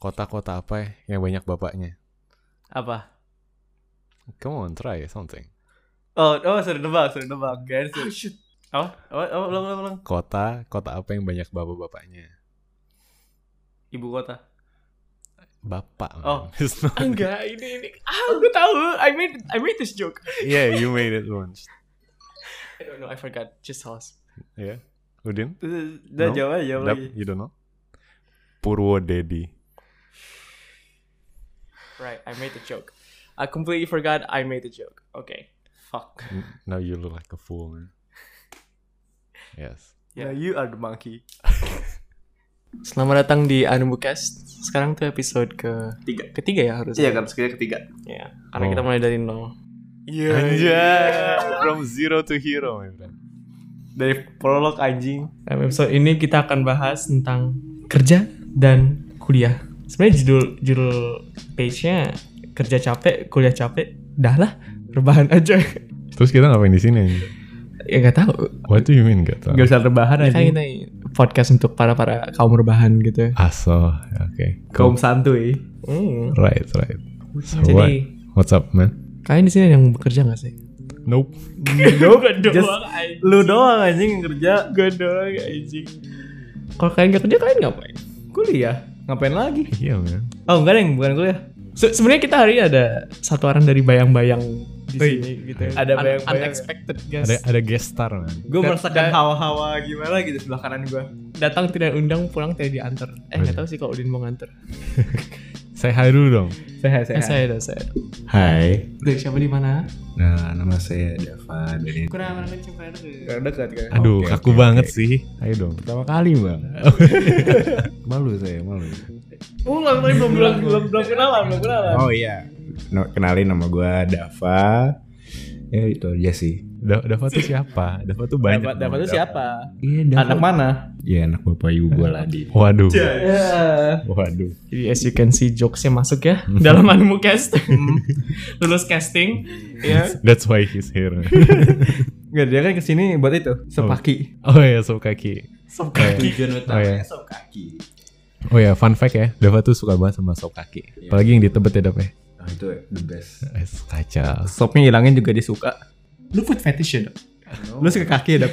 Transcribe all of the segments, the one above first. kota-kota apa ya yang banyak bapaknya? Apa? Come on, try something. Oh, oh suruh nebak, suruh nebak. Guys, Oh, suruh- apa? Apa? Apa? Ulang, ulang, ulang. Kota, kota apa yang banyak bapak-bapaknya? Ibu kota. Bapak. man. Oh. It's not- Enggak, ini ini. Ah, gue tahu. I made I made this joke. yeah, you made it once. I don't know, I forgot. Just house. Yeah. Udin? Udah No? jawab aja, jawab Dap, lagi. you don't know? Purwo Dedi. Right, I made the joke. I completely forgot I made the joke. Okay. Fuck. Now you look like a fool, man. Yes. Yeah. Nah, you are the monkey. Selamat datang di Anubukast. Sekarang tuh episode ke Tiga. ketiga ya harusnya. Iya kan, sekiranya ketiga. Ya, karena Oh. kita mulai dari nol. Iya. Anjay, from zero to hero, my friend. Dari prolog anjing. episode ini kita akan bahas tentang kerja dan kuliah. Sebenarnya judul judul page-nya kerja capek, kuliah capek. Dah lah, rebahan aja. Terus kita ngapain di sini? anjing? ya nggak tahu. What do you mean gak tau? usah rebahan Kan kita podcast untuk para para kaum rebahan gitu. Aso, ya, oke. Cool. santuy. Hmm. Right, right. So what? Jadi What's up, man? kalian di sini ada yang bekerja nggak sih? Nope. Gue Just lu doang anjing yang kerja Gue doang anjing. Kalau kalian nggak kerja kalian ngapain? kuliah. Ngapain lagi? Iya, man. Oh enggak deng, bukan kuliah. Se- Sebenarnya kita hari ini ada satu orang dari bayang-bayang di Wih, sini gitu. ada Un- bayang-bayang. Unexpected guys. Ada ada guest star, man. Gue Dan- merasakan dan- hawa-hawa gimana gitu sebelah kanan gue. Datang tidak undang, pulang tidak diantar. Eh nggak tahu sih kalau Udin mau nganter. Saya hi dulu dong. Sehat, Eh, saya ada saya. Hai. Dari siapa di mana? Nah, nama saya Dava dari Kurang kurang cepat. Dekat kan. Aduh, Oke, kaku oke, banget sih. Ayo dong. Pertama kali, Bang. malu saya malu. Oh nggak tahu belum belum Iya. belum belum kenalan belum kenalan. Oh iya, No, kenalin nama gua Dava. Ya itu aja sih. Da- Dava tuh siapa? Dava tuh banyak. Dapat dapat Bang. tuh siapa? Iya Anak mana? Iya anak bapak ibu gua ladi. Waduh. Iya. Waduh. Jadi as you can see jokesnya masuk ya dalam anime cast. Lulus casting, ya. That's why he's here. Enggak Iya. dia kan kesini buat itu sepaki. oh ya, sop kaki. Sob kaki. Oh ya. Sop kaki. Oh ya, fun fact ya. Dava tuh suka banget sama sop Iya. kaki. Apalagi yang di Tebet ya, Dava. ya. Ah, itu the best. Eh, Oh. Kacau. Sopnya hilangin juga dia suka. Lu food fetish ya? Dok? Lu suka kaki ya, Dap?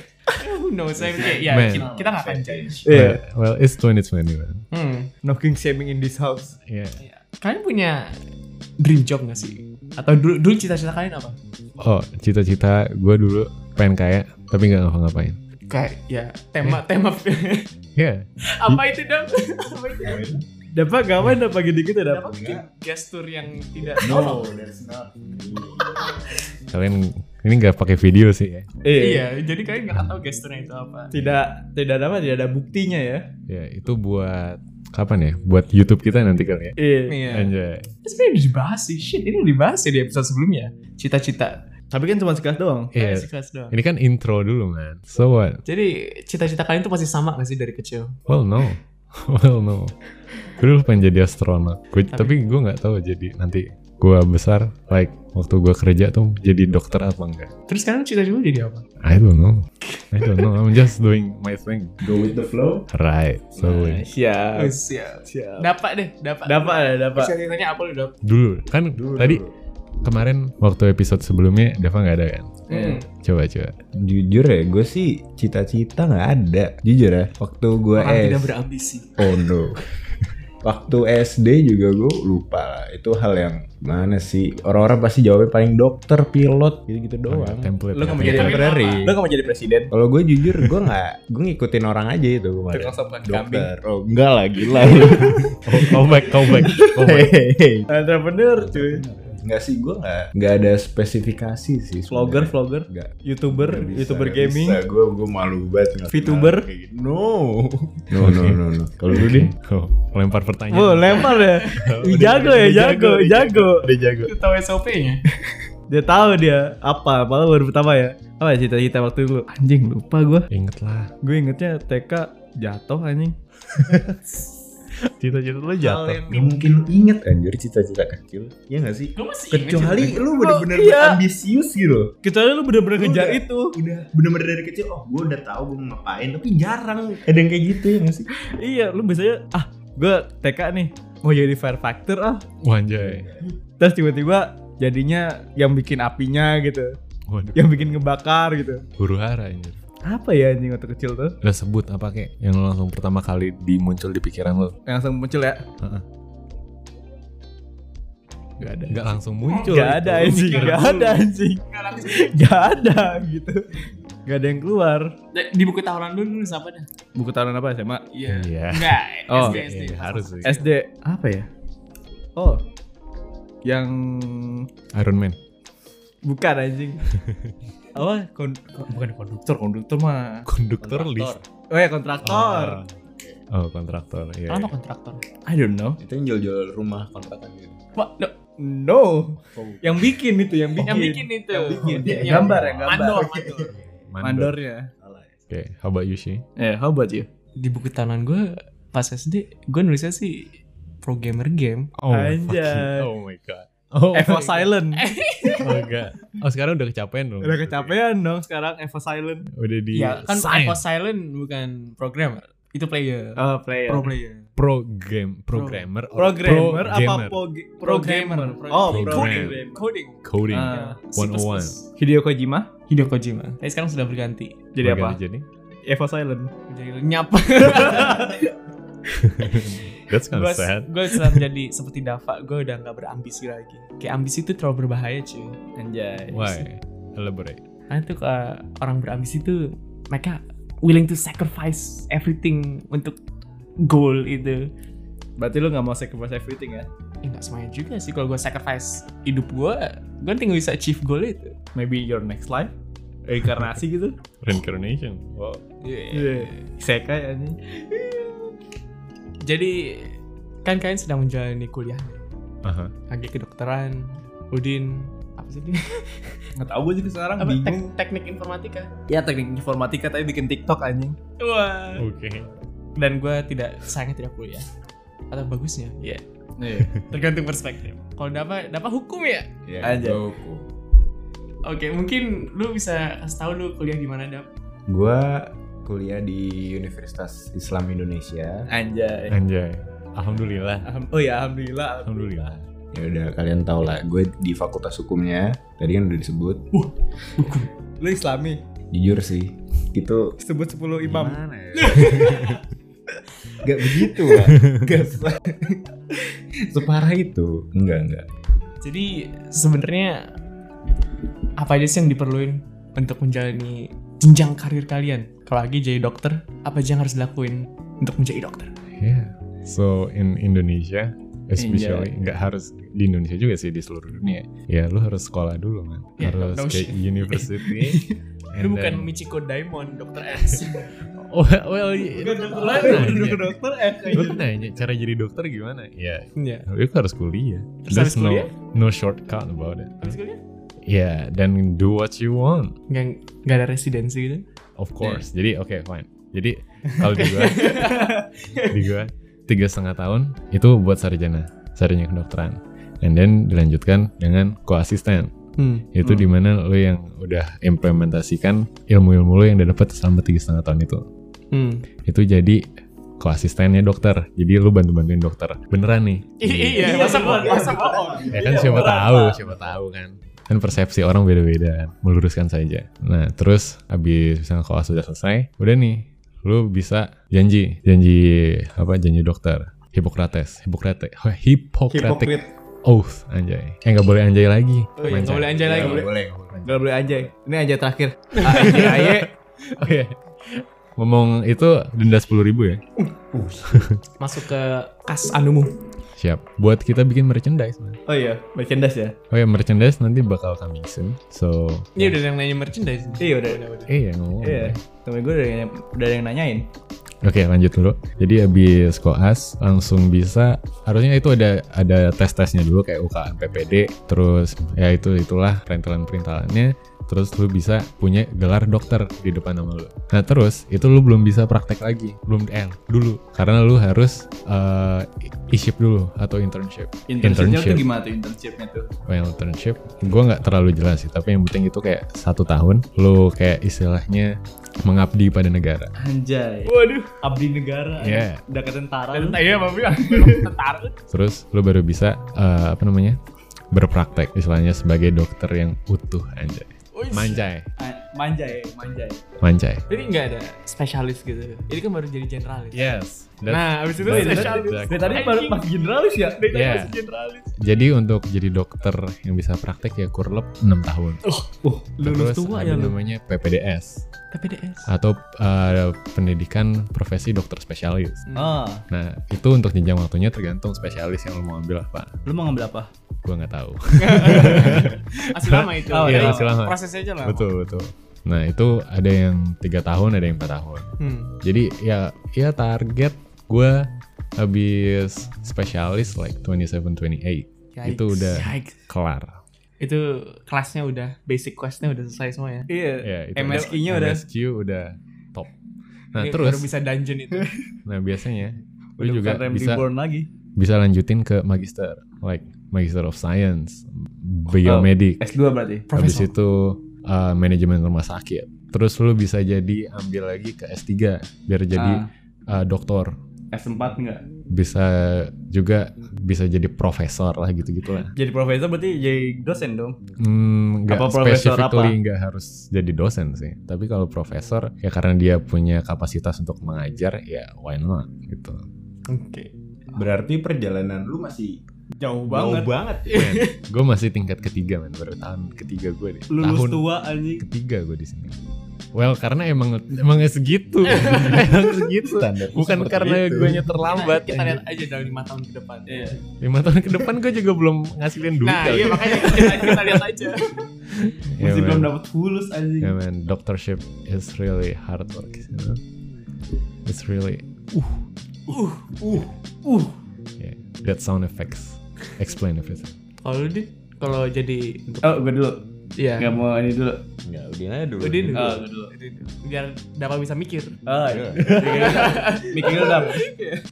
Who knows? Saya kayak ya Man. kita- kita nggak akan judge. Iya. Well, well, it's 2020, man. Hmm. No king shaming in this house. Yeah. Kalian punya dream job nggak sih? Atau dulu, dulu cita-cita kalian apa? Oh, cita-cita gue dulu pengen kaya, tapi nggak ngapa-ngapain. Kayak ya tema tema Ya, apa itu dong? apa itu? Dapat gawain dapat gede gitu dapat. Apa bikin gestur yang tidak? No, that's not. kalian ini nggak pakai video sih ya? Iya, jadi kalian nggak akan tahu gesturnya itu apa. Iya. Tidak tidak ada apa tidak ada buktinya ya. Ya, itu buat kapan ya? Buat YouTube kita nanti kali ya. Iya. Anjay. Tapi Sebenarnya udah dibahas sih, shit ini udah dibahas ya di episode sebelumnya. Cita-cita. Tapi kan cuma sekelas doang. Iya. Kasih kelas doang. Ini kan intro dulu, man. So what? Jadi cita-cita kalian tuh masih sama gak sih dari kecil? Well, no. Well, no. Gue dulu pengen jadi astronot. Gua- tapi gue nggak tahu jadi nanti gue besar, like waktu gue kerja tuh jadi dokter apa enggak. Terus sekarang cita-cita lu jadi apa? I don't know. I don't know. I'm just doing my thing. Go with the flow. Right. So Siap. Oh, Siap. Siap. Dapat deh, dapat. Iya. Ah. Dapat ya, dapat. Cita-citanya apa lu dapat? dulu kan tadi kemarin waktu episode sebelumnya Dava nggak ada kan? Hmm. Coba coba. Jujur ya, gue sih cita-cita nggak ada. Jujur ya, waktu gue Orang S. tidak berambisi. Oh no. Waktu SD juga gue lupa lah. Itu hal yang mana sih? Orang-orang pasti jawabnya paling dokter, pilot, gitu-gitu doang. Template. Lu ya, nggak mau jadi template. temporary. Lu nggak mau jadi presiden? Kalau gue jujur, gue nggak, gue ngikutin orang aja itu kemarin. Tukang sop kaki kambing. Dokter. Oh enggak lah, gila. Oh, Callback, callback. callback. Hehehe. Eh, Entrepreneur cuy. Enggak sih, gue nggak, nggak ada spesifikasi sih. Vlogger, sebenarnya. vlogger, Nggak. youtuber, Nggak bisa, youtuber nggak gaming. bisa. Gue gue malu banget. nggak kenal VTuber? kayak gitu. No. No no no no. Kalau lu din? Oh, lempar pertanyaan. Wah, lempar ya. Ih, jago ya, jago, jago. Udah jago. Lu tahu SOP-nya? Dia tahu dia apa, malah baru pertama ya. Apa ya cita-cita waktu itu? Anjing, lupa gue. Ingat lah. Gue ingetnya TK jatuh anjing. Cita-cita lu jatuh. Nggak Ya mungkin lu inget anjir cita-cita kecil. Iya nggak sih? Lu masih ingat Kecuali cita-cita? lu bener-bener Oh, iya. ambisius gitu. loh. Kecuali lu bener-bener ngejar Udah. itu. Udah bener-bener dari kecil, oh gue udah tahu gue mau ngapain, tapi jarang ada yang kayak gitu ya nggak sih? Iya, lu biasanya ah gue TK nih mau jadi firefighter ah Wah, anjay. terus tiba-tiba jadinya yang bikin apinya gitu Waduh, yang bikin ngebakar gitu huru hara anjir. apa ya anjing waktu kecil tuh Udah sebut apa kek yang lo langsung pertama kali dimuncul di pikiran lo? yang langsung muncul ya Heeh. Gak ada. Gak langsung muncul. Gak itu. ada anjing, mikir gak dulu. ada anjing, gak ada gitu, gak ada yang keluar. Di buku tahunan dulu nulis apa dah? Buku tahunan apa SMA? Iya. Enggak, Oh, SD, Iya, SD. iya, harus sih. SD apa ya? Oh, yang Iron Man. bukan anjing. apa? Kon- kon- bukan konduktor, konduktor mah. Konduktor lift. Oh ya kontraktor. Oh, kontraktor. Iya. iya. Kenapa kontraktor? Ah. I don't know. Itu yang jual-jual rumah kontrakan gitu. Wah, no, No, Oh. yang bikin itu, yang bikin. yang bikin itu. Yang bikin. Dia- Yang gambar, yang gambar. Mandor, mandor. Mandor. Mandornya. Salah ya. Oke, how about you Shi? Eh, how about you? Di buku tahunan gue pas SD, gue nulisnya sih pro gamer game. Oh, my Anjay. fucking- Oh my god. Oh, Eva my Silent. God. Oh, enggak. Oh, sekarang udah kecapean dong. Udah kecapean Ya, dong sekarang Eva Silent. Udah di Iya, kan sign. Evo Silent bukan programmer. Itu player. Oh, player. pro player. pro game programmer or Programmer pro apa gamer? pro, ge- pro Pro gamer? gamer. Oh, Pro pro gamer. gamer. Coding. coding Ah, 101 Hideo Kojima Hideo Kojima. Tapi sekarang sudah berganti. jadi apa? Berganti jadi Eva Silent. Jadi lenyap. that's kind gue of sad gue sudah menjadi seperti Dava gue udah nggak berambisi lagi kayak ambisi itu terlalu berbahaya cuy Anjay. why elaborate karena tuh uh, orang berambisi tuh mereka willing to sacrifice everything untuk goal itu Berarti lu gak mau sacrifice everything ya? ya nggak semuanya juga sih kalau gue sacrifice hidup gue gue tinggal bisa achieve goal itu Maybe your next life? Reinkarnasi gitu? reincarnation wow Iya. Isekai anjing. jadi kan kalian sedang menjalani kuliah Aha. lagi kedokteran Udin apa sih dia? Gak tau gue juga sekarang Apa? Tek- bingung. teknik informatika Ya teknik informatika tapi bikin TikTok anjing. wah oke dan gue tidak sayangnya tidak kuliah atau bagusnya ya Iya. tergantung perspektif kalau dapat dapat hukum ya Iya, Anjay. gua hukum. oke mungkin lu bisa kasih tahu lu kuliah di mana dap Gua kuliah di Universitas Islam Indonesia. Anjay. anjay alhamdulillah Alham- Oh ya alhamdulillah. alhamdulillah Ya udah kalian tau lah, gue di Fakultas Hukumnya. Tadi kan udah disebut. Lu islami. Jujur sih, itu Sebut 10 imam. Gimana ya? Gak begitu lah. Gak se- separah itu. Enggak, enggak. jadi sebenarnya apa aja sih yang diperluin untuk menjalani jenjang karir kalian kalau lagi jadi dokter apa aja yang harus dilakuin untuk menjadi dokter yeah so in Indonesia especially Iya. nggak harus di Indonesia juga sih di seluruh dunia ya lu harus sekolah dulu man Ya, harus no ke shit. university lu and bukan then- Michiko Diamond dokter S Iya. well, well y- Bukan dokter lu lain, nanya. bukan dokter eh. lu nanya cara jadi dokter gimana ya ya lu harus kuliah Terus there's habis no kuliah? no shortcut about it habis kuliah Yeah, then do what you want, nggak nggak ada residensi gitu of course. Jadi oke fine. Jadi kalau di gua, di gua tiga setengah tahun itu buat sarjana, sarjana kedokteran. And then dilanjutkan dengan koasisten. hmm. Itu dimana lo yang udah implementasikan ilmu-ilmu lo yang udah dapat selama tiga setengah tahun itu. hmm. Itu jadi koasistennya dokter. Jadi lu bantu-bantuin dokter. Beneran nih. iya masa bohong masa bohong ya kan siapa tahu siapa tahu kan kan persepsi orang beda-beda kan meluruskan saja nah terus habis misalnya kalau sudah selesai udah nih lu bisa janji janji apa janji dokter Hippocrates Hippocrates Hippocratic Hipokrit. oath anjay eh nggak boleh anjay lagi Oh iya, nggak boleh anjay Nggak lagi. boleh, nggak boleh. Gak boleh anjay. Ini anjay terakhir. Ah, Anjay. aye. Oh iya. ngomong itu denda sepuluh ribu ya Masuk ke kas anumu. siap buat kita bikin merchandise man. Oh iya, merchandise ya. oh ya merchandise nanti bakal coming soon so Ini udah ada yang nanya merchandise. Iya, udah. eh ya ngomong Iya, temen gue udah, yang- udah ada yang nanyain. Oke lanjut dulu. Jadi habis koas langsung bisa. Harusnya itu ada ada tes tesnya dulu kayak UKM PPD. Terus ya itu itulah perintalan perintalannya. Terus lu bisa punya gelar dokter di depan nama lu. Nah terus itu lu belum bisa praktek lagi, belum eh dulu karena lu harus eh e-ship dulu atau internship. Internshipnya tuh gimana tuh internshipnya tuh? Well, internship gue nggak terlalu jelas sih, tapi yang penting itu kayak satu tahun lu kayak istilahnya mengabdi pada negara. Anjay. Waduh. abdi negara Iya. udah ketentara Iya, Bapak. Tentara. terus lu baru bisa eh, apa namanya berpraktek istilahnya sebagai dokter yang utuh anjay manjai manja ya manja ya manjai Jadi nggak ada spesialis gitu. Ini kan baru jadi generalis. yes Nah, abis itu that's spesialis. exactly. Dari tadi baru pas generalis ya Dari tadi Yeah. masih generalis. jadi untuk jadi dokter yang bisa praktek ya kurlep 6 tahun Lulus terus tua ada ya Oh, lu. namanya PPDS PPDS. atau eh, pendidikan profesi dokter spesialis ah nah itu untuk jenjang waktunya tergantung spesialis yang lu mau ambil apa lu mau ngambil apa gua nggak tahu Masih lama itu. Oh, iya, Jadi masih lama. Prosesnya aja lama. betul betul nah itu ada yang tiga tahun ada yang empat tahun Hmm. Jadi ya ya target gue habis spesialis like 27 28. Yikes. Itu udah Yikes. kelar. Itu kelasnya udah basic questnya udah selesai semua ya. iya Ya, itu MSQ-nya udah- MSQ udah top. Nah, Ini terus baru bisa dungeon itu. nah biasanya lu Udah juga bukan Rem bisa reborn lagi bisa lanjutin ke magister like Magister of Science, Biomedic, S2 berarti habis Oh, Profesor. itu uh, manajemen rumah sakit. Terus lu bisa jadi ambil lagi ke S3 biar jadi uh, doktor. Ah, S4 enggak Bisa juga bisa jadi profesor lah gitu-gitu lah. jadi profesor berarti jadi dosen dong Hmm, nggak Apa profesor specifically nggak harus jadi dosen sih. Tapi kalau profesor ya karena dia punya kapasitas untuk mengajar ya why not gitu. Oke. Berarti perjalanan lu masih jauh jauh banget banget. gue masih tingkat ketiga men baru tahun ketiga gue deh. lulus tahun tua anjing ketiga gue di sini. Well karena emang emang segitu, emang segitu. Standarnya Bukan seperti karena itu. gue terlambat. Kita lihat aja dalam lima tahun ke depan. Iya. Lima tahun ke depan gue juga belum ngasilin duit. Nah, kali. iya makanya kita, kita lihat aja. Ya, masih men. belum dapat fulus anjing Yeah man, doctorship is really hard work, you know. It's really Uh, uh. yeah. That sound effects explain everything. Kalau lu Dit, kalau jadi untuk oh gue dulu iya. nggak mau ini dulu Enggak, udin aja dulu. Udin dulu. Ah, gue dulu Itu- itu. Biar dapat bisa mikir. ah Iya. mikir lu dam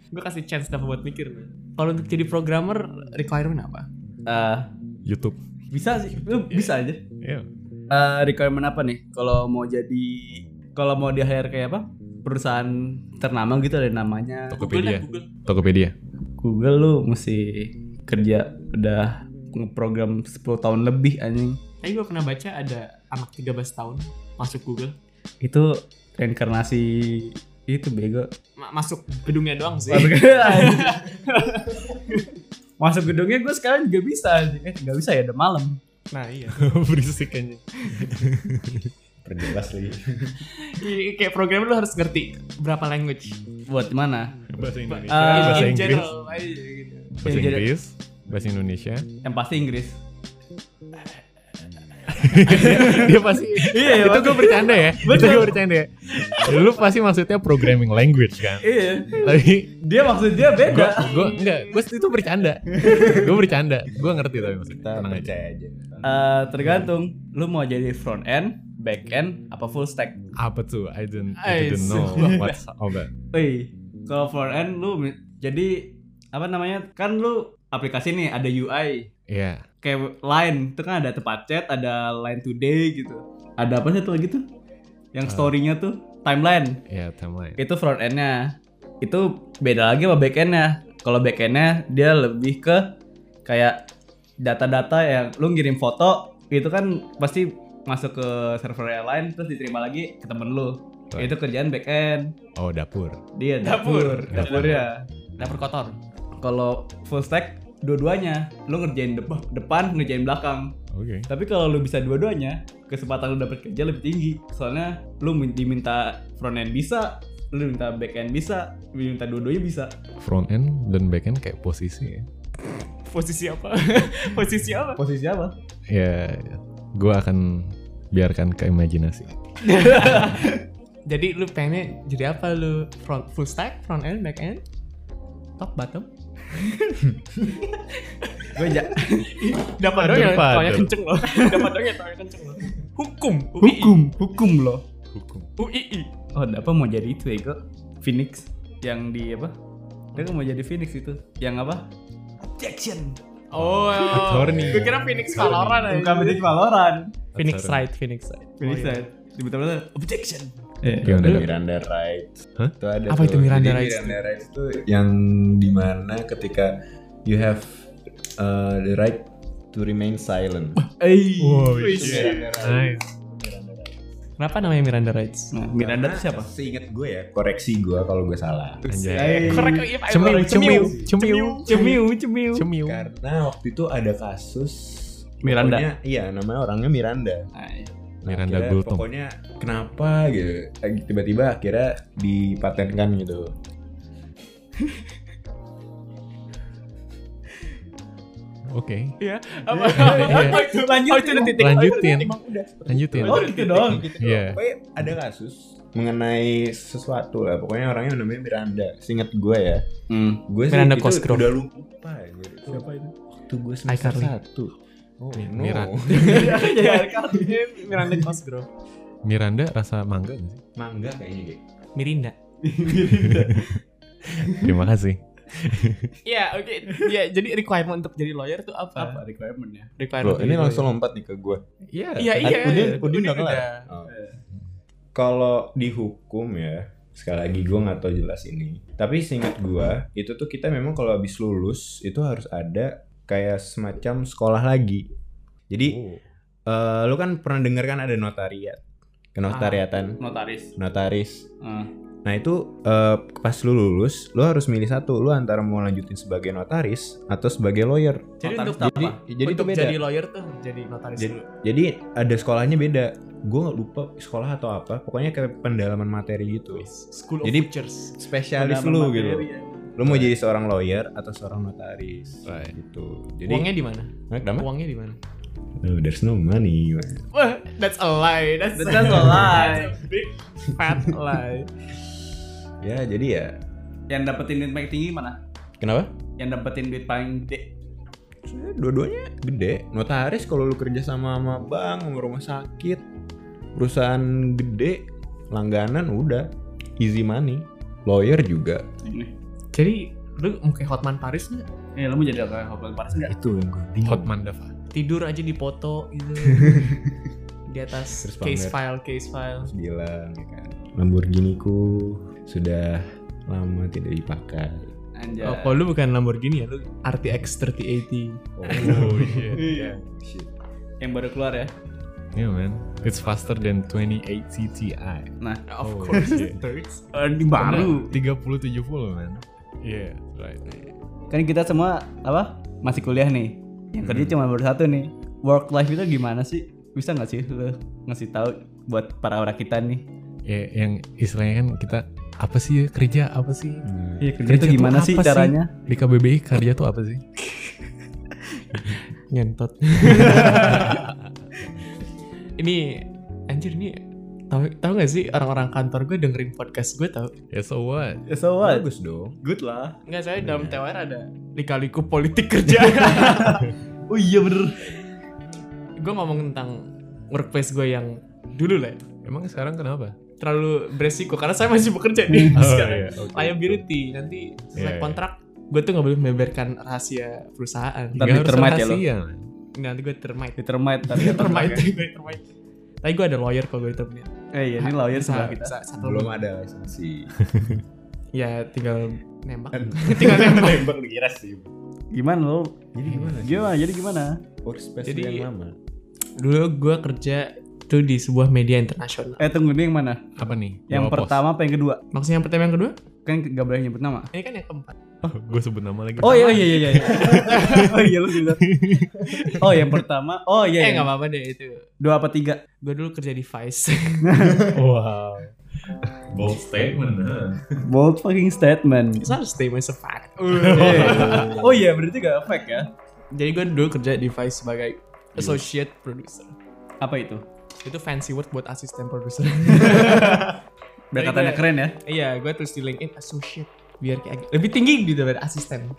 Gue kasih chance dapat buat mikir. men. Kalau untuk jadi programmer requirement apa? Ah, YouTube. bisa sih lu bisa aja Yeah. Eh, requirement apa nih kalau mau jadi kalau mau di hire kayak apa perusahaan ternama gitu ada namanya Tokopedia. Google. Tokopedia. Google lu mesti kerja udah ngeprogram 10 tahun lebih anjing Tapi gue pernah baca ada anak 13 tahun masuk Google. itu reinkarnasi itu bego Ma- masuk gedungnya doang sih. masuk gedungnya, masuk gedungnya gue sekarang juga bisa anjing. eh nggak bisa ya udah malam Nah iya. Berisik aja. Perjelas lagi. Ini Iya, Kayak programmer lu harus ngerti berapa language. Eh, buat mana Bahasa Indonesia, Ah, In- bahasa in Inggris, general, aja gitu. bahasa in general. Inggris, bahasa Indonesia. yang pasti Inggris Dia pasti Iya, itu gue bercanda ya. Itu gue bercanda ya. Lu pasti maksudnya programming language kan. iya Tapi dia maksudnya gue beda gue enggak, gue itu bercanda. gue bercanda. Gue ngerti tapi maksudnya. Kita Tenang aja. percaya aja. Eh, tergantung lu mau jadi front end, back end, apa full stack. Apa tuh? I don't, I I don't know see. what's oh, all that. Wih, kalau front end lu mi- jadi apa namanya? Kan lu aplikasi nih ada UI Iya. kayak line itu kan ada tempat chat, ada line today gitu. Ada apa sih tuh lagi tuh? Eh. Yang story-nya tuh timeline. Iya, timeline. Itu front end-nya. Itu beda lagi sama back end-nya. Kalau back end-nya dia lebih ke kayak data-data yang lu ngirim foto itu kan pasti masuk ke server lain terus diterima lagi ke temen lu. Right. Itu kerjaan back end. Oh, dapur. Dia Dapur. dapur, ya. dapurnya. Dapur kotor. Kalau full stack dua-duanya, lu ngerjain dep- depan, ngerjain belakang. Oke. Tapi kalau lu bisa dua-duanya, kesempatan lu dapet kerja lebih tinggi. Soalnya lu min- diminta front end bisa, lu minta back end bisa, lu minta dua-duanya bisa. Front end dan back end kayak posisi ya. Posisi apa? Posisi apa? Posisi apa? Ya, gue akan biarkan ke imajinasi. Jadi lu pengennya jadi apa lu? Front full stack, front end, back end, top bottom. Gue ja Dapat dong yang Father. tawanya kenceng loh. Dapat dong yang tawanya kenceng loh. Hukum, UI, hukum loh. Hukum. UII. Oh, apa mau jadi itu ya, kok? Phoenix yang di apa? Dia kan mau jadi Phoenix itu. Yang apa? Objection. Oh, Attorney. gue kira Phoenix Valorant aja. Bukan menjadi Valorant. Phoenix Attorney. Wright, Phoenix Wright. Phoenix eh. Oh, iya. right. Tiba-tiba objection. Iya. Gimana? Lu- Miranda Rights. Hah? Itu ada Apa itu tuh. Miranda Jadi Rights Miranda Rights itu yang dimana ketika you have uh, the right to remain silent. Eh. Wow, Oh, Itu iya. Miranda Rights. Nice. Kenapa namanya Miranda Rights? Nah, Miranda tuh siapa? Seingat gue ya, koreksi gue kalau gue salah. Anjay. iya Cemiu, cemiu, cemiu, cemiu, cemiu. Cemiu. Kan, Karena waktu itu ada kasus Miranda. pokoknya- iya, namanya orangnya Miranda. Ay. Nah, Miranda akhirnya Gultom. Pokoknya kenapa gitu? eh, Tiba-tiba akhirnya dipatenkan gitu. Oke. Iya. Apa? apa itu? Lanjut. Oh, itu udah titik. Lanjutin. Lanjutin. Oh, gitu doang. Iya. Pokoknya ada kasus mengenai sesuatu lah. Pokoknya orangnya namanya Miranda. Seingat gue ya. Hmm. Gue sih Miranda itu Cosgrove. udah lupa. ya, Gue itu. Siapa itu? Waktu gue semester iCarly. satu. Oh, Mi- no. Mira- Iya, iya. Miranda Cosgrove. Miranda rasa mangga nggak sih? Mangga kayaknya. deh. Mirinda. Terima kasih. Iya, oke. Iya, jadi requirement untuk jadi lawyer tuh apa? Apa requirement-nya? Requirement. ya? Loh, ini jadi langsung lawyer. lompat nih ke gue. Iya. Iya, iya. Udin, iya. Udin udah kelar. udah. Oh. Kalau di hukum ya, sekali lagi gue nggak tahu jelas ini. Tapi seingat gue, itu tuh kita memang kalau habis lulus itu harus ada kayak semacam sekolah lagi. Jadi Oh. eh, lu kan pernah denger kan ada notariat, Ah, kenotariatan, Notaris. notaris. Ah. Nah itu eh, pas lu lulus, lu harus milih satu, lu antara mau lanjutin sebagai notaris atau sebagai lawyer. Jadi Notaris untuk tuh Jadi, apa? jadi itu untuk beda. jadi lawyer tuh jadi notaris Jadi- dulu. Jadi ada sekolahnya beda. Gue lupa sekolah atau apa. Pokoknya kayak pendalaman materi gitu. School of Jadi- Futures. Spesialis Pendalaman lu materi gitu. ya. Lu mau jadi seorang lawyer atau seorang notaris Right. gitu. Jadi Uangnya di mana? Hah, kenapa? Uangnya di mana? Oh, there's no money. Wah, that's a lie. That's, That's just a lie. That's a big fat lie. Ya jadi ya. Yang dapetin duit paling tinggi mana? Kenapa? Yang dapetin duit paling gede. Sebenarnya Dua-duanya gede. Notaris kalau lu kerja sama sama bank, sama rumah sakit, perusahaan gede, langganan udah easy money. Lawyer juga. Ini. Jadi lu mau kayak Hotman Paris nggak? Eh, lu mau jadi apa? Hotel Paris enggak? Nah, Itu yang gue bingung. Hot Mandava. Tidur aja di foto gitu. di atas Terus case pamer. file, case file. Terus bilang ya kan, Lamborghini ku sudah lama tidak dipakai. Anjay. Oh, kalau lu bukan Lamborghini ya, lu RTX 3080. Oh iya. Iya. Yang baru keluar ya. Yeah man. It's faster than 28 CTI. Nah, Of Oh, course, iya. it's di Nah, baru. 3070 man. Iya. Right. Kan kita semua apa? Masih kuliah nih. Yang kerja cuma baru satu nih. Work life itu gimana sih? Bisa nggak sih lu ngasih tahu buat para orang kita nih? Ya, yang istilahnya kan kita apa sih ya, kerja apa sih? Nah, Iya, kerja Kerja itu tuh gimana apa sih sih? caranya? Di KBBI kerja tuh apa sih? ngentot. ini anjir ini tahu tahu nggak sih orang-orang kantor gue dengerin podcast gue tau? Ya so what? Ya, so what? Bagus dong. Good lah. Nggak saya dalam TWR ada dikaliku politik kerja. Oh iya bener. gue ngomong tentang workplace gue yang dulu lah ya, Emang sekarang kenapa? terlalu beresiko karena saya masih bekerja nih sekarang. iya, oke. Liability nanti Iya, selesai iya. kontrak gue tuh nggak boleh membeberkan rahasia perusahaan. Ntar Nggak harus ditermite ya lo. rahasia, man. Nanti gue termite. Ditermite tapi termite gue termite. Tapi gue ada lawyer kalau gue termite. ya. Eh iya, ini lawyer Bisa- sebelah kita. bisa satu Belum ada lisensi. ya tinggal nembak tinggal nembak Tembak dikira sih. Gimana lu? Jadi gimana? sih? Gimana? Jadi gimana? Workspace Jadi- lu yang lama. dulu gue kerja tuh di sebuah media internasional Eh tunggu nih yang mana? Apa nih? Berapa Yang pos? pertama apa yang kedua? maksudnya yang pertama yang kedua Kan gak boleh nyebut nama. ini kan yang keempat gue sebut nama lagi. Oh iya iya iya iya. oh iya lu bilang. Oh yang pertama. Oh iya. iya. eh nggak apa-apa deh itu Dua apa tiga? gue dulu kerja di Vice Wow. Bold statement. Bold fucking statement. it's not a statement it's a fact Eh, oh iya berarti gak fake ya? jadi gue dulu kerja di Vice sebagai associate producer Apa itu? itu fancy word buat asisten produser Biar Jadi katanya kayak- keren ya. iya gue tulis di LinkedIn associate biar kayak agak- lebih tinggi gitu daripada asisten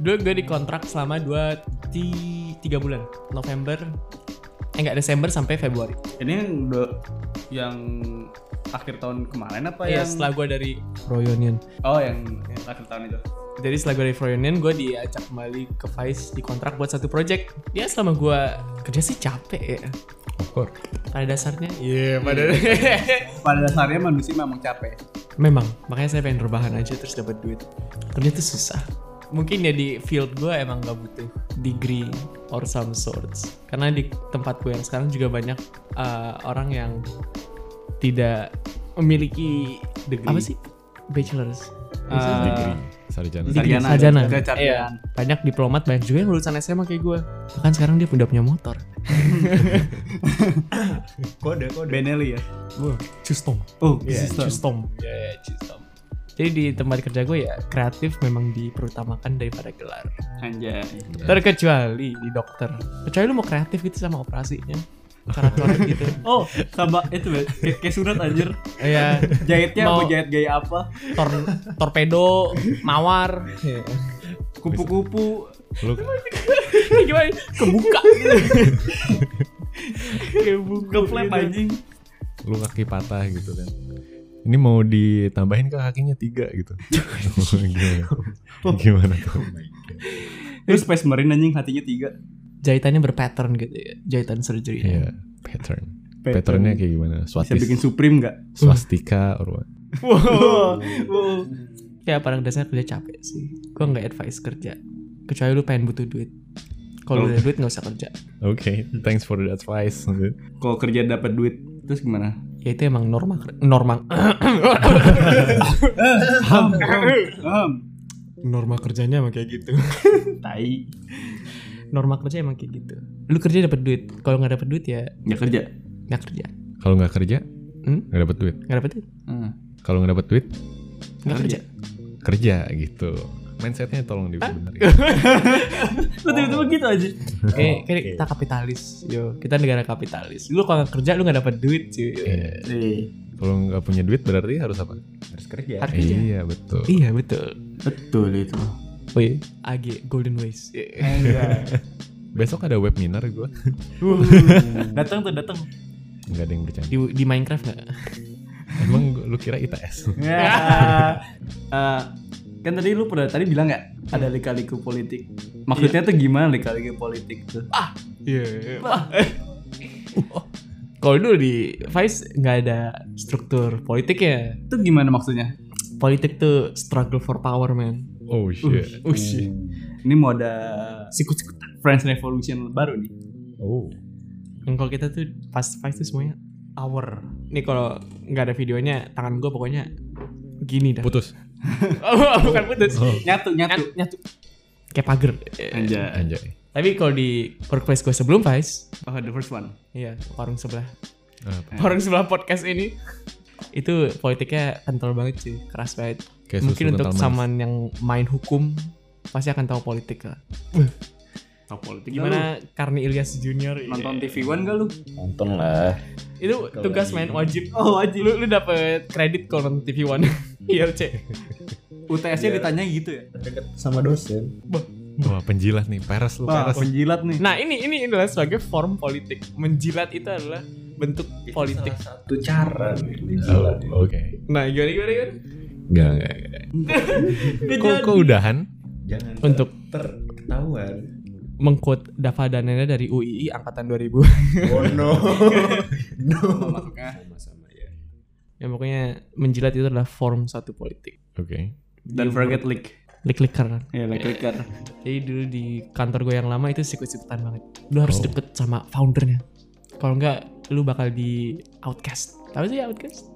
dulu gue dikontrak selama dua ti- tiga bulan November eh nggak Desember sampai Februari Ini yang udah yang akhir tahun kemarin apa Iya, yang? setelah gue dari Royonian. Oh yang, yang akhir tahun itu. Jadi setelah gue dari Royonian, gue diajak kembali ke Vice di kontrak buat satu project. Ya selama gue kerja sih capek ya. Of course. Pada dasarnya Iya, pada Pada dasarnya manusia memang capek. memang makanya saya pengen rebahan aja terus dapat duit. Ternyata susah. Mungkin ya di field gue emang gak butuh degree or some sorts. Karena di tempat gue yang sekarang juga banyak eh, orang yang tidak memiliki degree. Apa sih? Bachelor's. Eh, Oh, degree. Sarjana. Degree, Sarjana. sarjana. Sarjana. Iya. Banyak diplomat, banyak juga yang lulusan SMA kayak gue. Bahkan sekarang dia udah punya motor. Kode kode. Benelli ya. Gue custom. Oh, Custom. Iya, custom. Jadi di tempat kerja gue ya kreatif memang diperutamakan daripada gelar. Iya. Anjay. Terkecuali di dokter. Kecuali lu mau kreatif gitu sama operasinya. Corak-corak gitu. Oh, sama itu bet. Kayak, kayak surat anjir. Iya. Jahitnya Mau- mau jahit gaya apa? Tor- torpedo, mawar. Kupu-kupu. Lu Ini Gimana? Kebuka gitu. Kebuka. Keplep gitu. anjing. lu kaki patah gitu kan. Ini mau ditambahin ke kakinya tiga gitu. Gimana? Gimana tuh? Oh Terus space marine anjing hatinya tiga. Jahitannya berpattern gitu ya. Jahitan surgery. Iya, pattern. Patternnya kayak gimana? bisa Swatis, bikin supreme nggak? swastika, or what? Oh. Wow. wow. Ya pada dasarnya kerja capek sih. Gue nggak advice kerja. Kecuali lu pengen butuh duit. Kalau lu Oh. ada duit nggak usah kerja. Oke, thanks for the advice. Kalau kerja dapat duit, terus gimana? Ya itu emang norma ker- norma Ham, ham, ham. norma kerjanya emang kayak gitu. Tai. Norma kerja emang kayak gitu. Lu kerja dapat duit. Kalau nggak dapat duit ya Ya kerja. nggak kerja. Kalau nggak kerja, Hmm? nggak dapat duit. Nggak dapat duit. Hmm. Kalau nggak dapat duit, Nggak kerja. kerja gitu. Mindsetnya tolong gitu. dibenerin. Lu tiba-tiba gitu aja. Kayak, kayak kita kapitalis. Yo, kita negara kapitalis. Lu kalau nggak kerja lu nggak dapat duit cuy. Iya. Eh, Kalau nggak punya duit berarti harus apa? Harus kerja. Harus kerja. Iya betul. Iya betul. betul itu. Oh iya. AG Golden Ways. Iya. Besok ada webinar gue. Uh. datang tuh datang. Nggak ada yang bercanda. Di, di Minecraft nggak? Emang gua- lu kira ITS? Ya. Eh, kan tadi lu pernah tadi bilang nggak ada lika-liku politik. Maksudnya tuh gimana lika-liku politik tuh? Iya. Kalau dulu di Vice nggak ada struktur politiknya. Itu gimana maksudnya? Politik tuh struggle for power man. Oh shit. Ush. Ini mau ada sikut-sikutan French Revolution baru nih. Oh. Yang kalau kita tuh pas Vice tuh semuanya hour. Nih kalau nggak ada videonya tangan gue pokoknya gini dah. Putus. Oh, bukan putus. Oh. Nyatu nyatu. Nyatu, nyatu. Kayak pagar. Eh, Anjay. Anjay. Tapi kalau di workplace gue sebelum Vice, Oh, the first one. iya warung sebelah Apa? orang sebelah podcast ini itu politiknya kental banget sih keras banget Kayak mungkin susu untuk kental manis. saman yang main hukum pasti akan tahu politik lah Top politik. Gimana? gimana Karni Ilyas Junior Nonton TV One gak lu? Nonton lah. itu tugas main wajib oh wajib lu, lu dapet kredit kalau nonton TV One Iya, IRC UTS-nya ditanya gitu ya. Sama dosen. Wah penjilat nih. Peres lu. Wah, Peres. penjilat nih. nah ini ini adalah sebagai form politik menjilat itu adalah bentuk politik Satu cara nih, Oh, dijilat. Oke. nah gimana gimana, gimana? Nggak nggak. nggak. Kok, kok udahan? Jangan untuk terketahuan. mengquote Dava Danena dari UII angkatan 2000 Oh no. no. masuknya. Sama-sama ya. ya pokoknya menjilat itu adalah form satu politik Oke. Dan forget lick. klik-kliker Ya, like Iya. clicker. jadi dulu di kantor gue yang lama itu sikut-sikutan banget lu harus deket sama foundernya kalau enggak lu bakal di outcast tahu sih outcast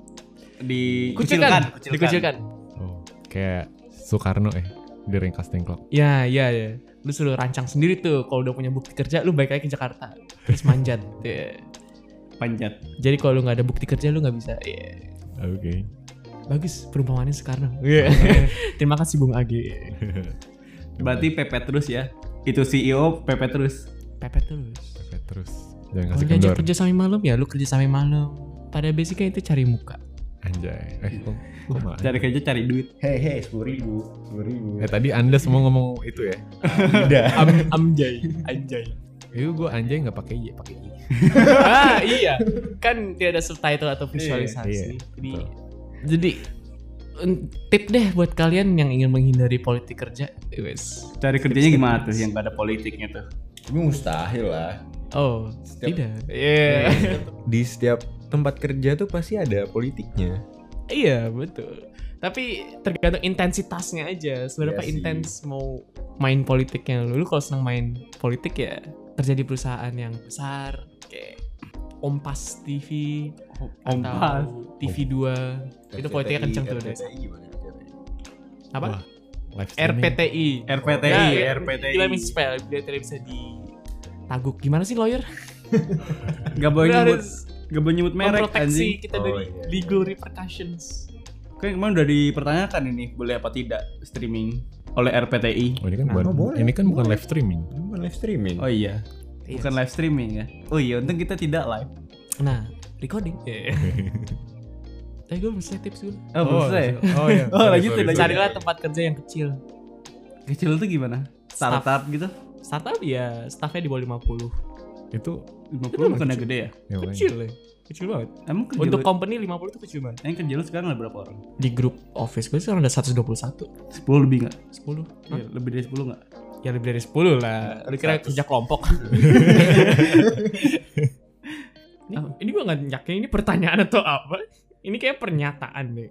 Dikucilkan. dikucilkan Oh. Kayak Soekarno eh di ring casting clock. ya ya ya lu suruh rancang sendiri tuh kalau udah punya bukti kerja lu balik lagi ke Jakarta terus manjat Iya. Panjat. jadi kalau lu nggak ada bukti kerja lu nggak bisa Iya. Oke. bagus perumpamaannya sekarang Iya. terima kasih Bung Agi Berarti pepet terus ya. Itu CEO pepet terus. pepet terus Oke, Terus jangan Kalau kasih diajak kendor. Oh, kerja sampai malam ya lu kerja sampai malam. Pada basicnya itu cari muka. Anjay. Eh, kok, kok malah? Cari kerja cari duit. Hei hei sepuluh ribu. Sepuluh ribu. Eh tadi anda semua ngomong itu ya? Tidak. Am amjay, anjay. Itu gue anjay nggak pakai y, pakai i. ah iya, kan tidak ada subtitle atau visualisasi. Iya, iya, jadi, jadi en- tip deh buat kalian yang ingin menghindari politik kerja, wes. Cari kerjanya gimana tuh yang gak ada politiknya tuh? Tapi mustahil lah. Oh, Setiap- tidak. Iya. Di setiap tempat kerja tuh pasti ada politiknya. Iya, betul. Tapi tergantung intensitasnya aja. Seberapa Iya sih. intens mau main politiknya lu. Lu kalau senang main politik ya kerja di perusahaan yang besar kayak Ompas TV Oh, Ompas. atau TV2. Itu politiknya kenceng tuh guys. Apa? Wah, live streaming. RPTI. RPTI, Ya, RPTI. Gila miss spell, dia tidak bisa di taguk. Gimana sih lawyer? Gak boleh Lu nyebut, harus gak boleh nyebut merek memproteksi anjing. kita Oh, dari iya, iya. legal repercussions. Kayak kemarin udah dipertanyakan ini boleh apa tidak streaming oleh RPTI. Oh, ini kan Nah, bukan, oh, boleh, ini kan bukan boleh. live streaming. Bukan live streaming. Oh iya, bukan live streaming ya. Oh iya, untung kita tidak live. Nah, recording. Tapi gue bisa tips dulu. Oh, boleh. Oh iya. Sorry, Oh, lanjutin, sorry, lanjutin. sorry. Carilah tempat kerja yang kecil. ya? Kecil tuh gimana? Staff. Startup gitu? Startup ya, staffnya di bawah 50. Itu 50 bukannya gede ya? ya, makanya. Kecil ya. Kecil banget. Emang kerja Untuk lu- company 50 itu kecil banget. yang kerja lu sekarang ada berapa orang? Di grup office gue sekarang ada 121. 10 lebih nggak? 10. Hah? Iya, lebih dari 10 nggak? Ya lebih dari 10 lah. Lu kira kerja kelompok. ini, ini gue gak yakin ini pertanyaan atau apa. Ini kayak pernyataan deh.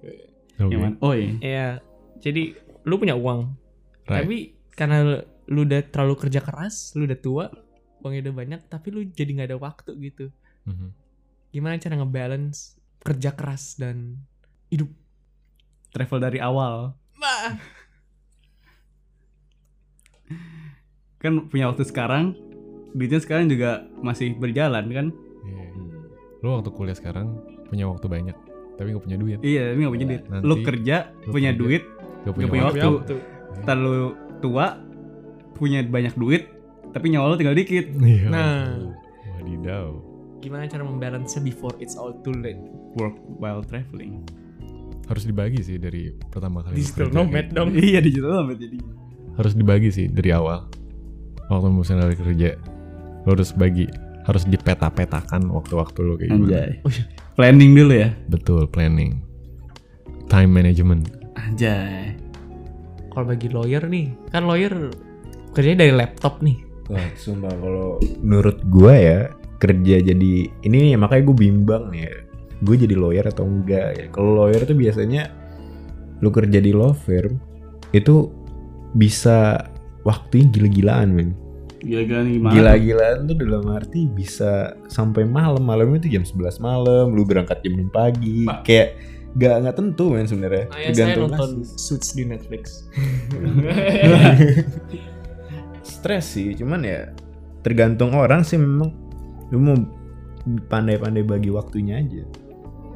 Oke. Yang mana? Oh iya. Iya. Jadi lu punya uang. Right. Tapi karena lu udah terlalu kerja keras, lu udah tua, uangnya udah banyak, tapi lu jadi nggak ada waktu gitu. Mhm. Gimana cara ngebalance kerja keras dan Travel dari awal. Kan punya waktu sekarang, duitnya sekarang juga masih berjalan kan? Iya. Hmm. Lu waktu kuliah sekarang punya waktu banyak, tapi nggak punya duit. Iya, tapi nggak punya duit. Nanti Lu kerja, lu punya kerja. duit, Gak punya, punya waktu. waktu. ntar lu tua, punya banyak duit, tapi nyawa lu tinggal dikit. Iya. Nah. Wadidaw. Gimana cara membalance before it's all too late? Work while traveling. Harus dibagi sih dari pertama kali. lu Digital kerja. nomad dong. iya, digital nomad jadi. Harus dibagi sih dari awal. Waktu misalnya dari kerja, lu harus bagi, harus dipeta-petakan waktu-waktu lu kayak gimana. Oh, iya. Planning dulu ya. Betul, planning. Time management. Anjay. Kalau bagi lawyer nih, kan lawyer kerjanya dari laptop nih. Wah, sumpah kalau gitu. menurut gua ya kerja jadi ini nih, makanya gue bimbang nih ya. Gue jadi lawyer atau enggak ya. Kalau lawyer tuh biasanya lu kerja di law firm itu bisa waktunya gila-gilaan men. Gila-gilaan gimana? Gila-gilaan tuh dalam arti bisa sampai malam. Malamnya tuh jam 11 malam, lu berangkat jam 6 pagi. Pak. Kayak gak nggak tentu men sebenarnya. Ayah saya Tergantung nonton kasus. Suits di Netflix. Eh, stres sih cuman ya tergantung orang sih memang lu mau pandai-pandai bagi waktunya aja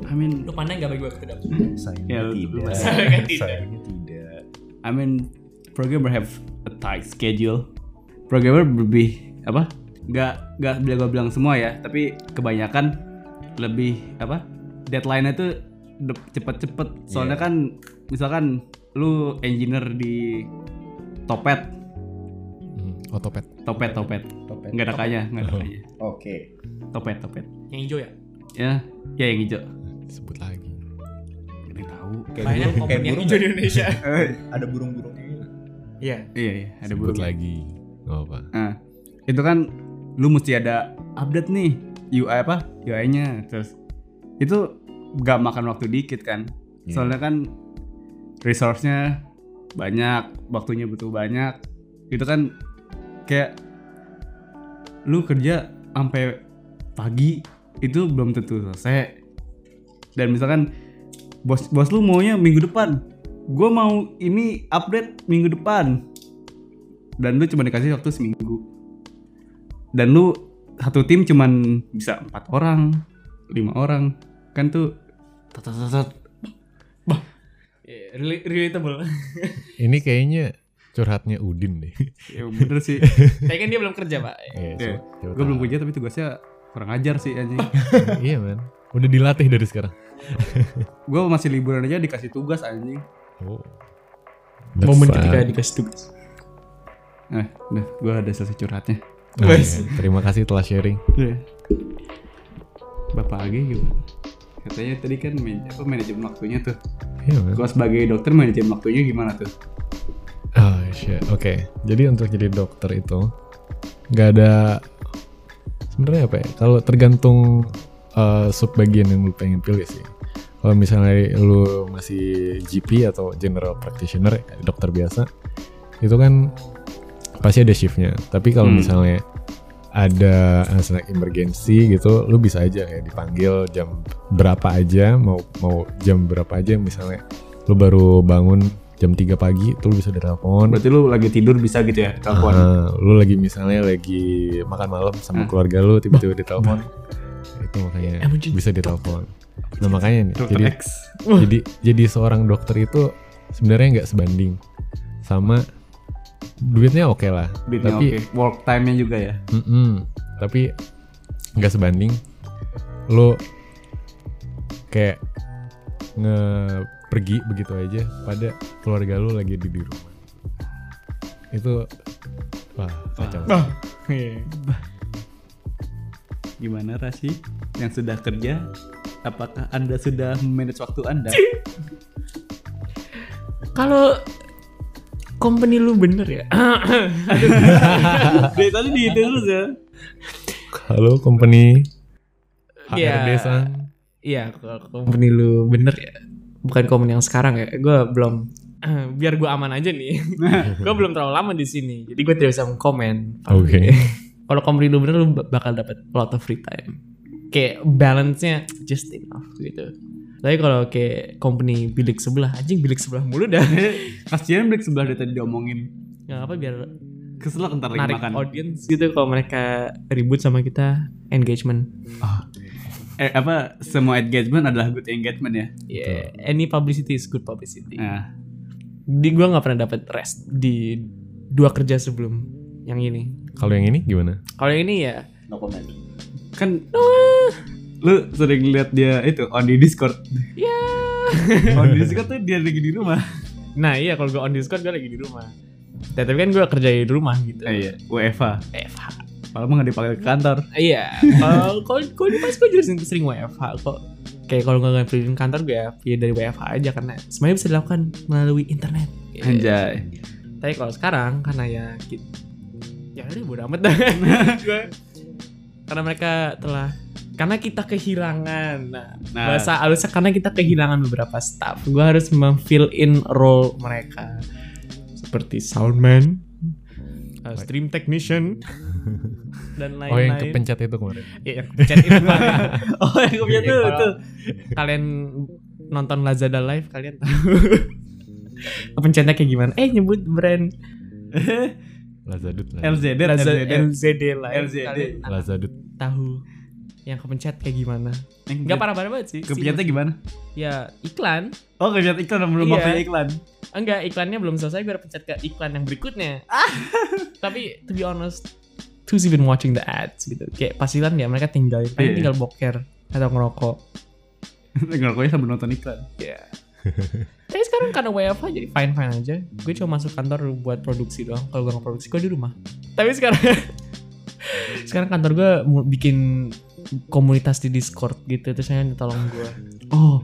I mean, Lu pandai nggak bagi waktu dapet? Ya, sayangnya lu- lu tidak masih- sayangnya tidak I mean, programmer have a tight schedule. Programmer lebih apa? Gak gak bilang bilang semua ya, tapi kebanyakan lebih apa? Deadline-nya tuh de- cepet-cepet. Soalnya kan misalkan lu engineer di Topet, Hmm, otopet. Topet, Topet. Topet. Enggak ada kayaknya, enggak ada Oh. kayaknya. oke Topet, Topet. Yang hijau ya? Ya, ya yang hijau. Sebut lagi. Gak tahu. Banyak kayak company yang burung hijau di Indonesia. ada burung-burungnya Iya. Iya, Eh, iya, ada Sebut burung. lagi. Gak apa. Nah, itu kan lu mesti ada update nih UI apa UI-nya terus itu gak makan waktu dikit kan Iya. soalnya kan resource-nya banyak waktunya butuh banyak itu kan kayak lu kerja sampai pagi itu belum tentu selesai dan misalkan bos bos lu maunya minggu depan gue mau ini update minggu depan dan lu cuma dikasih waktu seminggu dan lu satu tim cuman bisa empat orang lima orang kan tuh tat, tat, tat, tat. Iya, rela- Relatable. Ini kayaknya curhatnya Udin deh. ya bener sih Tapi kan dia belum kerja pak. Iya, so- gue belum kerja tapi tugasnya kurang ajar sih anjing Iya man. Udah dilatih dari sekarang. gue masih liburan aja dikasih tugas anjing Oh. Momen ketika dikasih tugas. eh udah gue ada selesai curhatnya Oh, iya. Terima kasih telah sharing. Udah. bapak lagi gimana katanya tadi kan man- apa, manajemen waktunya tuh Iya man. gue sebagai dokter manajemen waktunya gimana tuh Oh shit. Oke. Jadi untuk jadi dokter itu nggak ada sebenarnya apa ya kalau tergantung eh, sub bagian yang lu pengen pilih sih kalau misalnya lu masih GP atau general practitioner dokter biasa itu kan pasti ada shiftnya tapi kalau Hmm. misalnya ada anak emergency gitu lu bisa aja kayak dipanggil jam berapa aja mau mau jam berapa aja misalnya lu baru bangun jam 3 pagi tuh lu bisa telepon Berarti lu lagi tidur bisa gitu ya telepon. Ah, lu lagi misalnya lagi makan malam sama Hmm. keluarga lu tiba-tiba ditelepon itu makanya Emoji. bisa ditelepon nah makanya nih Dokter jadi X. jadi jadi seorang dokter itu sebenarnya nggak sebanding sama duitnya oke lah Duitnya tapi oke. Work time-nya juga ya. mm-mm, tapi nggak sebanding lu kayak nge pergi begitu aja pada keluarga lu lagi di di rumah itu wah kacau Oh, iya. Gimana Rasi yang sudah kerja? Apakah Anda sudah manage waktu Anda? Kalau company lu bener ya. Dari tadi di terus ya. Halo company Iya. HRD sang Iya, kalau company lu bener ya. Bukan company yang sekarang ya. Gue belum Eh, biar gue aman aja nih. gue belum terlalu lama di sini. Jadi gue tidak bisa mengkomen. Oke Kalau company lu bener lu bakal dapat lot of free time. Kayak balance-nya just enough gitu. Tapi kalau kayak company bilik sebelah, anjing bilik sebelah mulu dah. Kasihan break sebelah dari tadi diomongin. Gak apa biar Kesel ntar lagi narik makan. audience gitu kalau mereka ribut sama kita engagement. Eh, apa semua engagement adalah good engagement ya? Yeah, any publicity is good publicity. Nah, Di gua nggak pernah dapat rest di dua kerja sebelum yang ini. Kalau yang ini gimana? Kalau yang ini ya kan lu sering lihat dia itu on di Discord. ya. on di Discord tuh dia lagi di rumah. Nah, iya kalau gua on Discord gua lagi di rumah. Dan tapi kan gua kerja di rumah gitu. Eh, iya, WFH. WFH. Malah mah nggak dipakai ke kantor. Iya. Kalau kalau kalau di pas gua juga sering, sering WFH kok. Kayak kalau gua nggak pilih kantor gua ya pilih dari WFH aja karena semuanya bisa dilakukan melalui internet. Iya. Anjay. Tapi kalau sekarang karena ya gitu, ya udah bodo amat dah. Gua- karena mereka telah karena kita kehilangan. Nah, Nah. bahasa halusnya karena kita kehilangan beberapa staff, gue harus memfill in role mereka seperti soundman, uh, stream technician, dan lain-lain. Oh yang kepencet itu kemarin Ya, yang kepencet itu kemarin. Oh, yang punya Iya, tuh Kalau tuh. Kalian nonton Lazada live kalian tahu kepencetnya kayak gimana? Eh nyebut brand Lazadut Lazadut. LZD, LZD, LZD. LZD lah. LZD. Lazadut tahu yang kepencet kayak gimana? Enggak Enggak parah. parah-parah banget sih. Kepiatnya gimana? Ya iklan. Oh, kepiat iklan belum Iya. waktunya iklan. Enggak, iklannya belum selesai gue udah pencet ke iklan yang berikutnya. Tapi to be honest, who's even watching the ads gitu. Kayak pastilan ya mereka tinggal paling Iya. tinggal boker atau ngerokok. Ngerokoknya sambil nonton iklan. Ya. Tapi sekarang karena WFH jadi fine-fine aja. Gue cuma masuk kantor buat produksi doang. Kalau gue nggak produksi, gue di rumah. Tapi sekarang sekarang kantor gue mu- bikin komunitas di Discord gitu. Terus saya tolong gue. Oh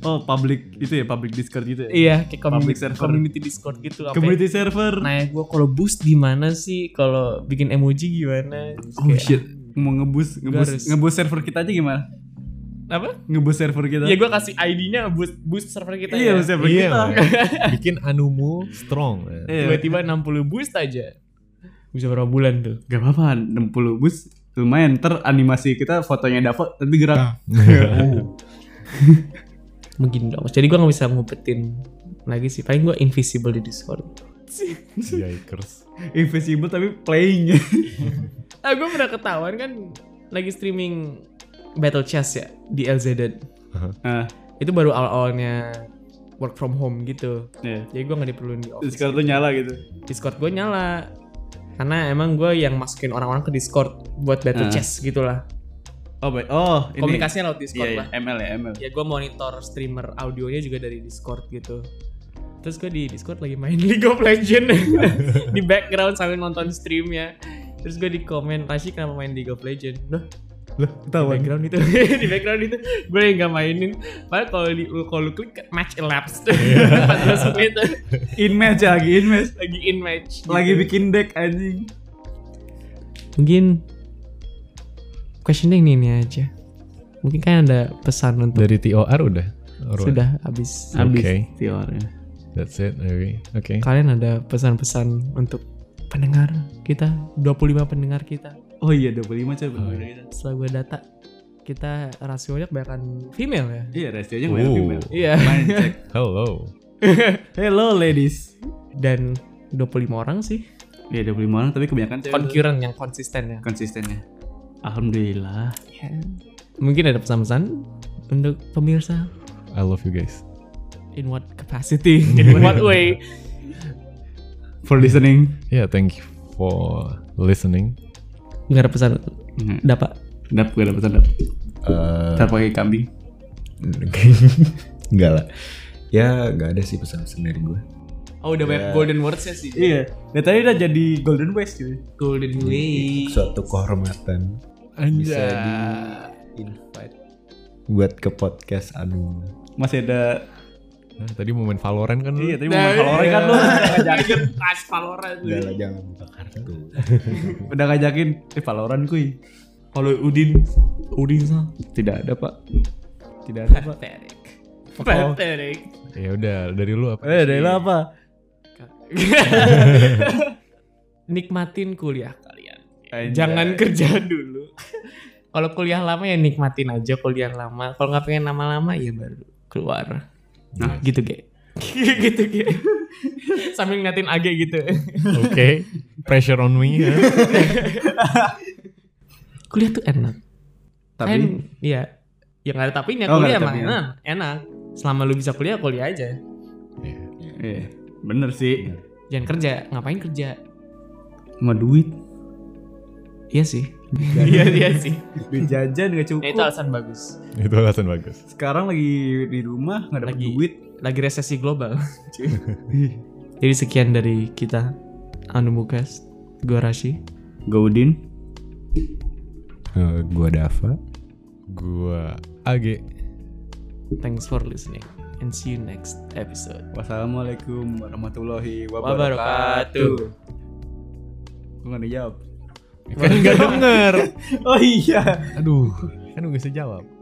Oh, public itu ya, public Discord gitu ya. iya, kayak Public community, server. community Discord gitu. Apa Community server. Nanya gue kalau boost gimana sih? Kalau bikin emoji gimana? Terus Oh kayak, shit. Mau ngebus, harus- ngebus, ngebus server kita aja gimana? Iya, Apa? Ngebus server kita. Ya gue kasih ID-nya boost boost server kita Iya, ya. ngebus server Iya, kita. makanya. Bikin anumu strong eh. Iya. Tiba-tiba 60 boost aja. Bisa berapa bulan tuh? Gak apa-apa, 60 bus lumayan. Ntar animasi kita fotonya dapat, tapi gerak. mungkin dong. Jadi gue nggak bisa ngumpetin lagi sih. Paling gue invisible di Discord. Yikers Invisible tapi playing. Ah gue pernah ketahuan kan lagi streaming Battle Chess ya di LZD. nah, Itu baru awal-awalnya work from home gitu. iya. Jadi gue nggak diperluin di office. Discord tuh nyala gitu. Discord gue nyala karena emang gue yang masukin orang-orang ke Discord buat Ah. Battle Chess gitulah. Oh, baik. Oh, ini. Komunikasinya Iya, lewat Discord iya, lah. ML ya, ML. Ya gue monitor streamer audionya juga dari Discord gitu. Terus gue di Discord lagi main League of Legends di background sambil nonton streamnya. Terus gue di komen Rashi kenapa main League of Legends? Loh, Loh, di ketahuan. background itu, di background itu gue yang nggak mainin. Padahal kalau di kalau lu klik match elapsed Iya. 14 menit In match ya, lagi in match. lagi in match. Lagi gitu. bikin deck anjing. mungkin questioning nih ini aja. Mungkin kan ada pesan untuk Dari TOR udah? Or what? sudah habis. Habis Oke. teorinya. That's it. Oke. Oke. Kalian ada pesan-pesan untuk pendengar kita, 25 pendengar kita. Oh iya 25 coba. Oh, Setelah gue data, kita rasionya kebanyakan female ya. Iya rasionya Wow. banyak female. Iya. Main cek. Hello. Hello ladies. Dan 25 orang sih. Iya 25 orang tapi kebanyakan cewek. Konkuren yang konsisten ya. konsistennya. Alhamdulillah. Ya. Mungkin ada pesan-pesan untuk pemirsa I love you guys. in what capacity, in what way. For listening. Yeah, Ya, thank you for listening. Nggak ada pesan Iya. dapat. Dap gue dapet dap. Eh, Ntar pakai kambing. Enggak lah. Ya nggak ada sih pesan-pesan dari gue. Oh udah banyak golden words-nya sih. Iya. Nah tadi udah jadi golden waste gitu. Golden way. Suatu kehormatan bisa Iya. di invite buat ke podcast Anu. Masih ada. Nah, tadi mau main Valorant kan lu? Iya tadi Nah, mau makan orang kan lo. Jangan pas Valorant. Udah lah jangan buka kartu. udah ngajakin eh Valorant kuy kalau Udin Udin sah tidak ada pak tidak ada pak Pathetic. Pathetic. Ya udah, dari lu apa? eh dari lo apa Nikmatin kuliah kalian. Anjay. Jangan kerja dulu. Kalau kuliah lama ya nikmatin aja kuliah lama. Kalau nggak pengen lama-lama ya baru keluar. Nah, gitu ge. gitu ge. Sambil ngeliatin Age gitu. Oke. Pressure on me. ya. kuliah tuh enak. tapi Kan, iya. Ya nggak ada tapinya Oh, nggak kuliah ada emang tapinya. enak. Enak. Selama lu bisa kuliah kuliah aja. Iya, eh, bener sih Jangan kerja, ngapain kerja? sama duit Iya sih. Iya iya sih. duit jajan gak Nah, cukup itu alasan bagus. Itu alasan bagus. sekarang lagi di rumah nggak dapet Lagi. duit lagi resesi global. cuy. Jadi sekian dari kita Anu Mukas, gua Rashi. gue Udin Eh, gua Dava. Gua AG. Thanks for listening and see you next episode. wassalamualaikum warahmatullahi Wabarakatuh. wabarakatuh gue nggak dijawab Kan enggak denger. oh iya Aduh, kan gak bisa jawab.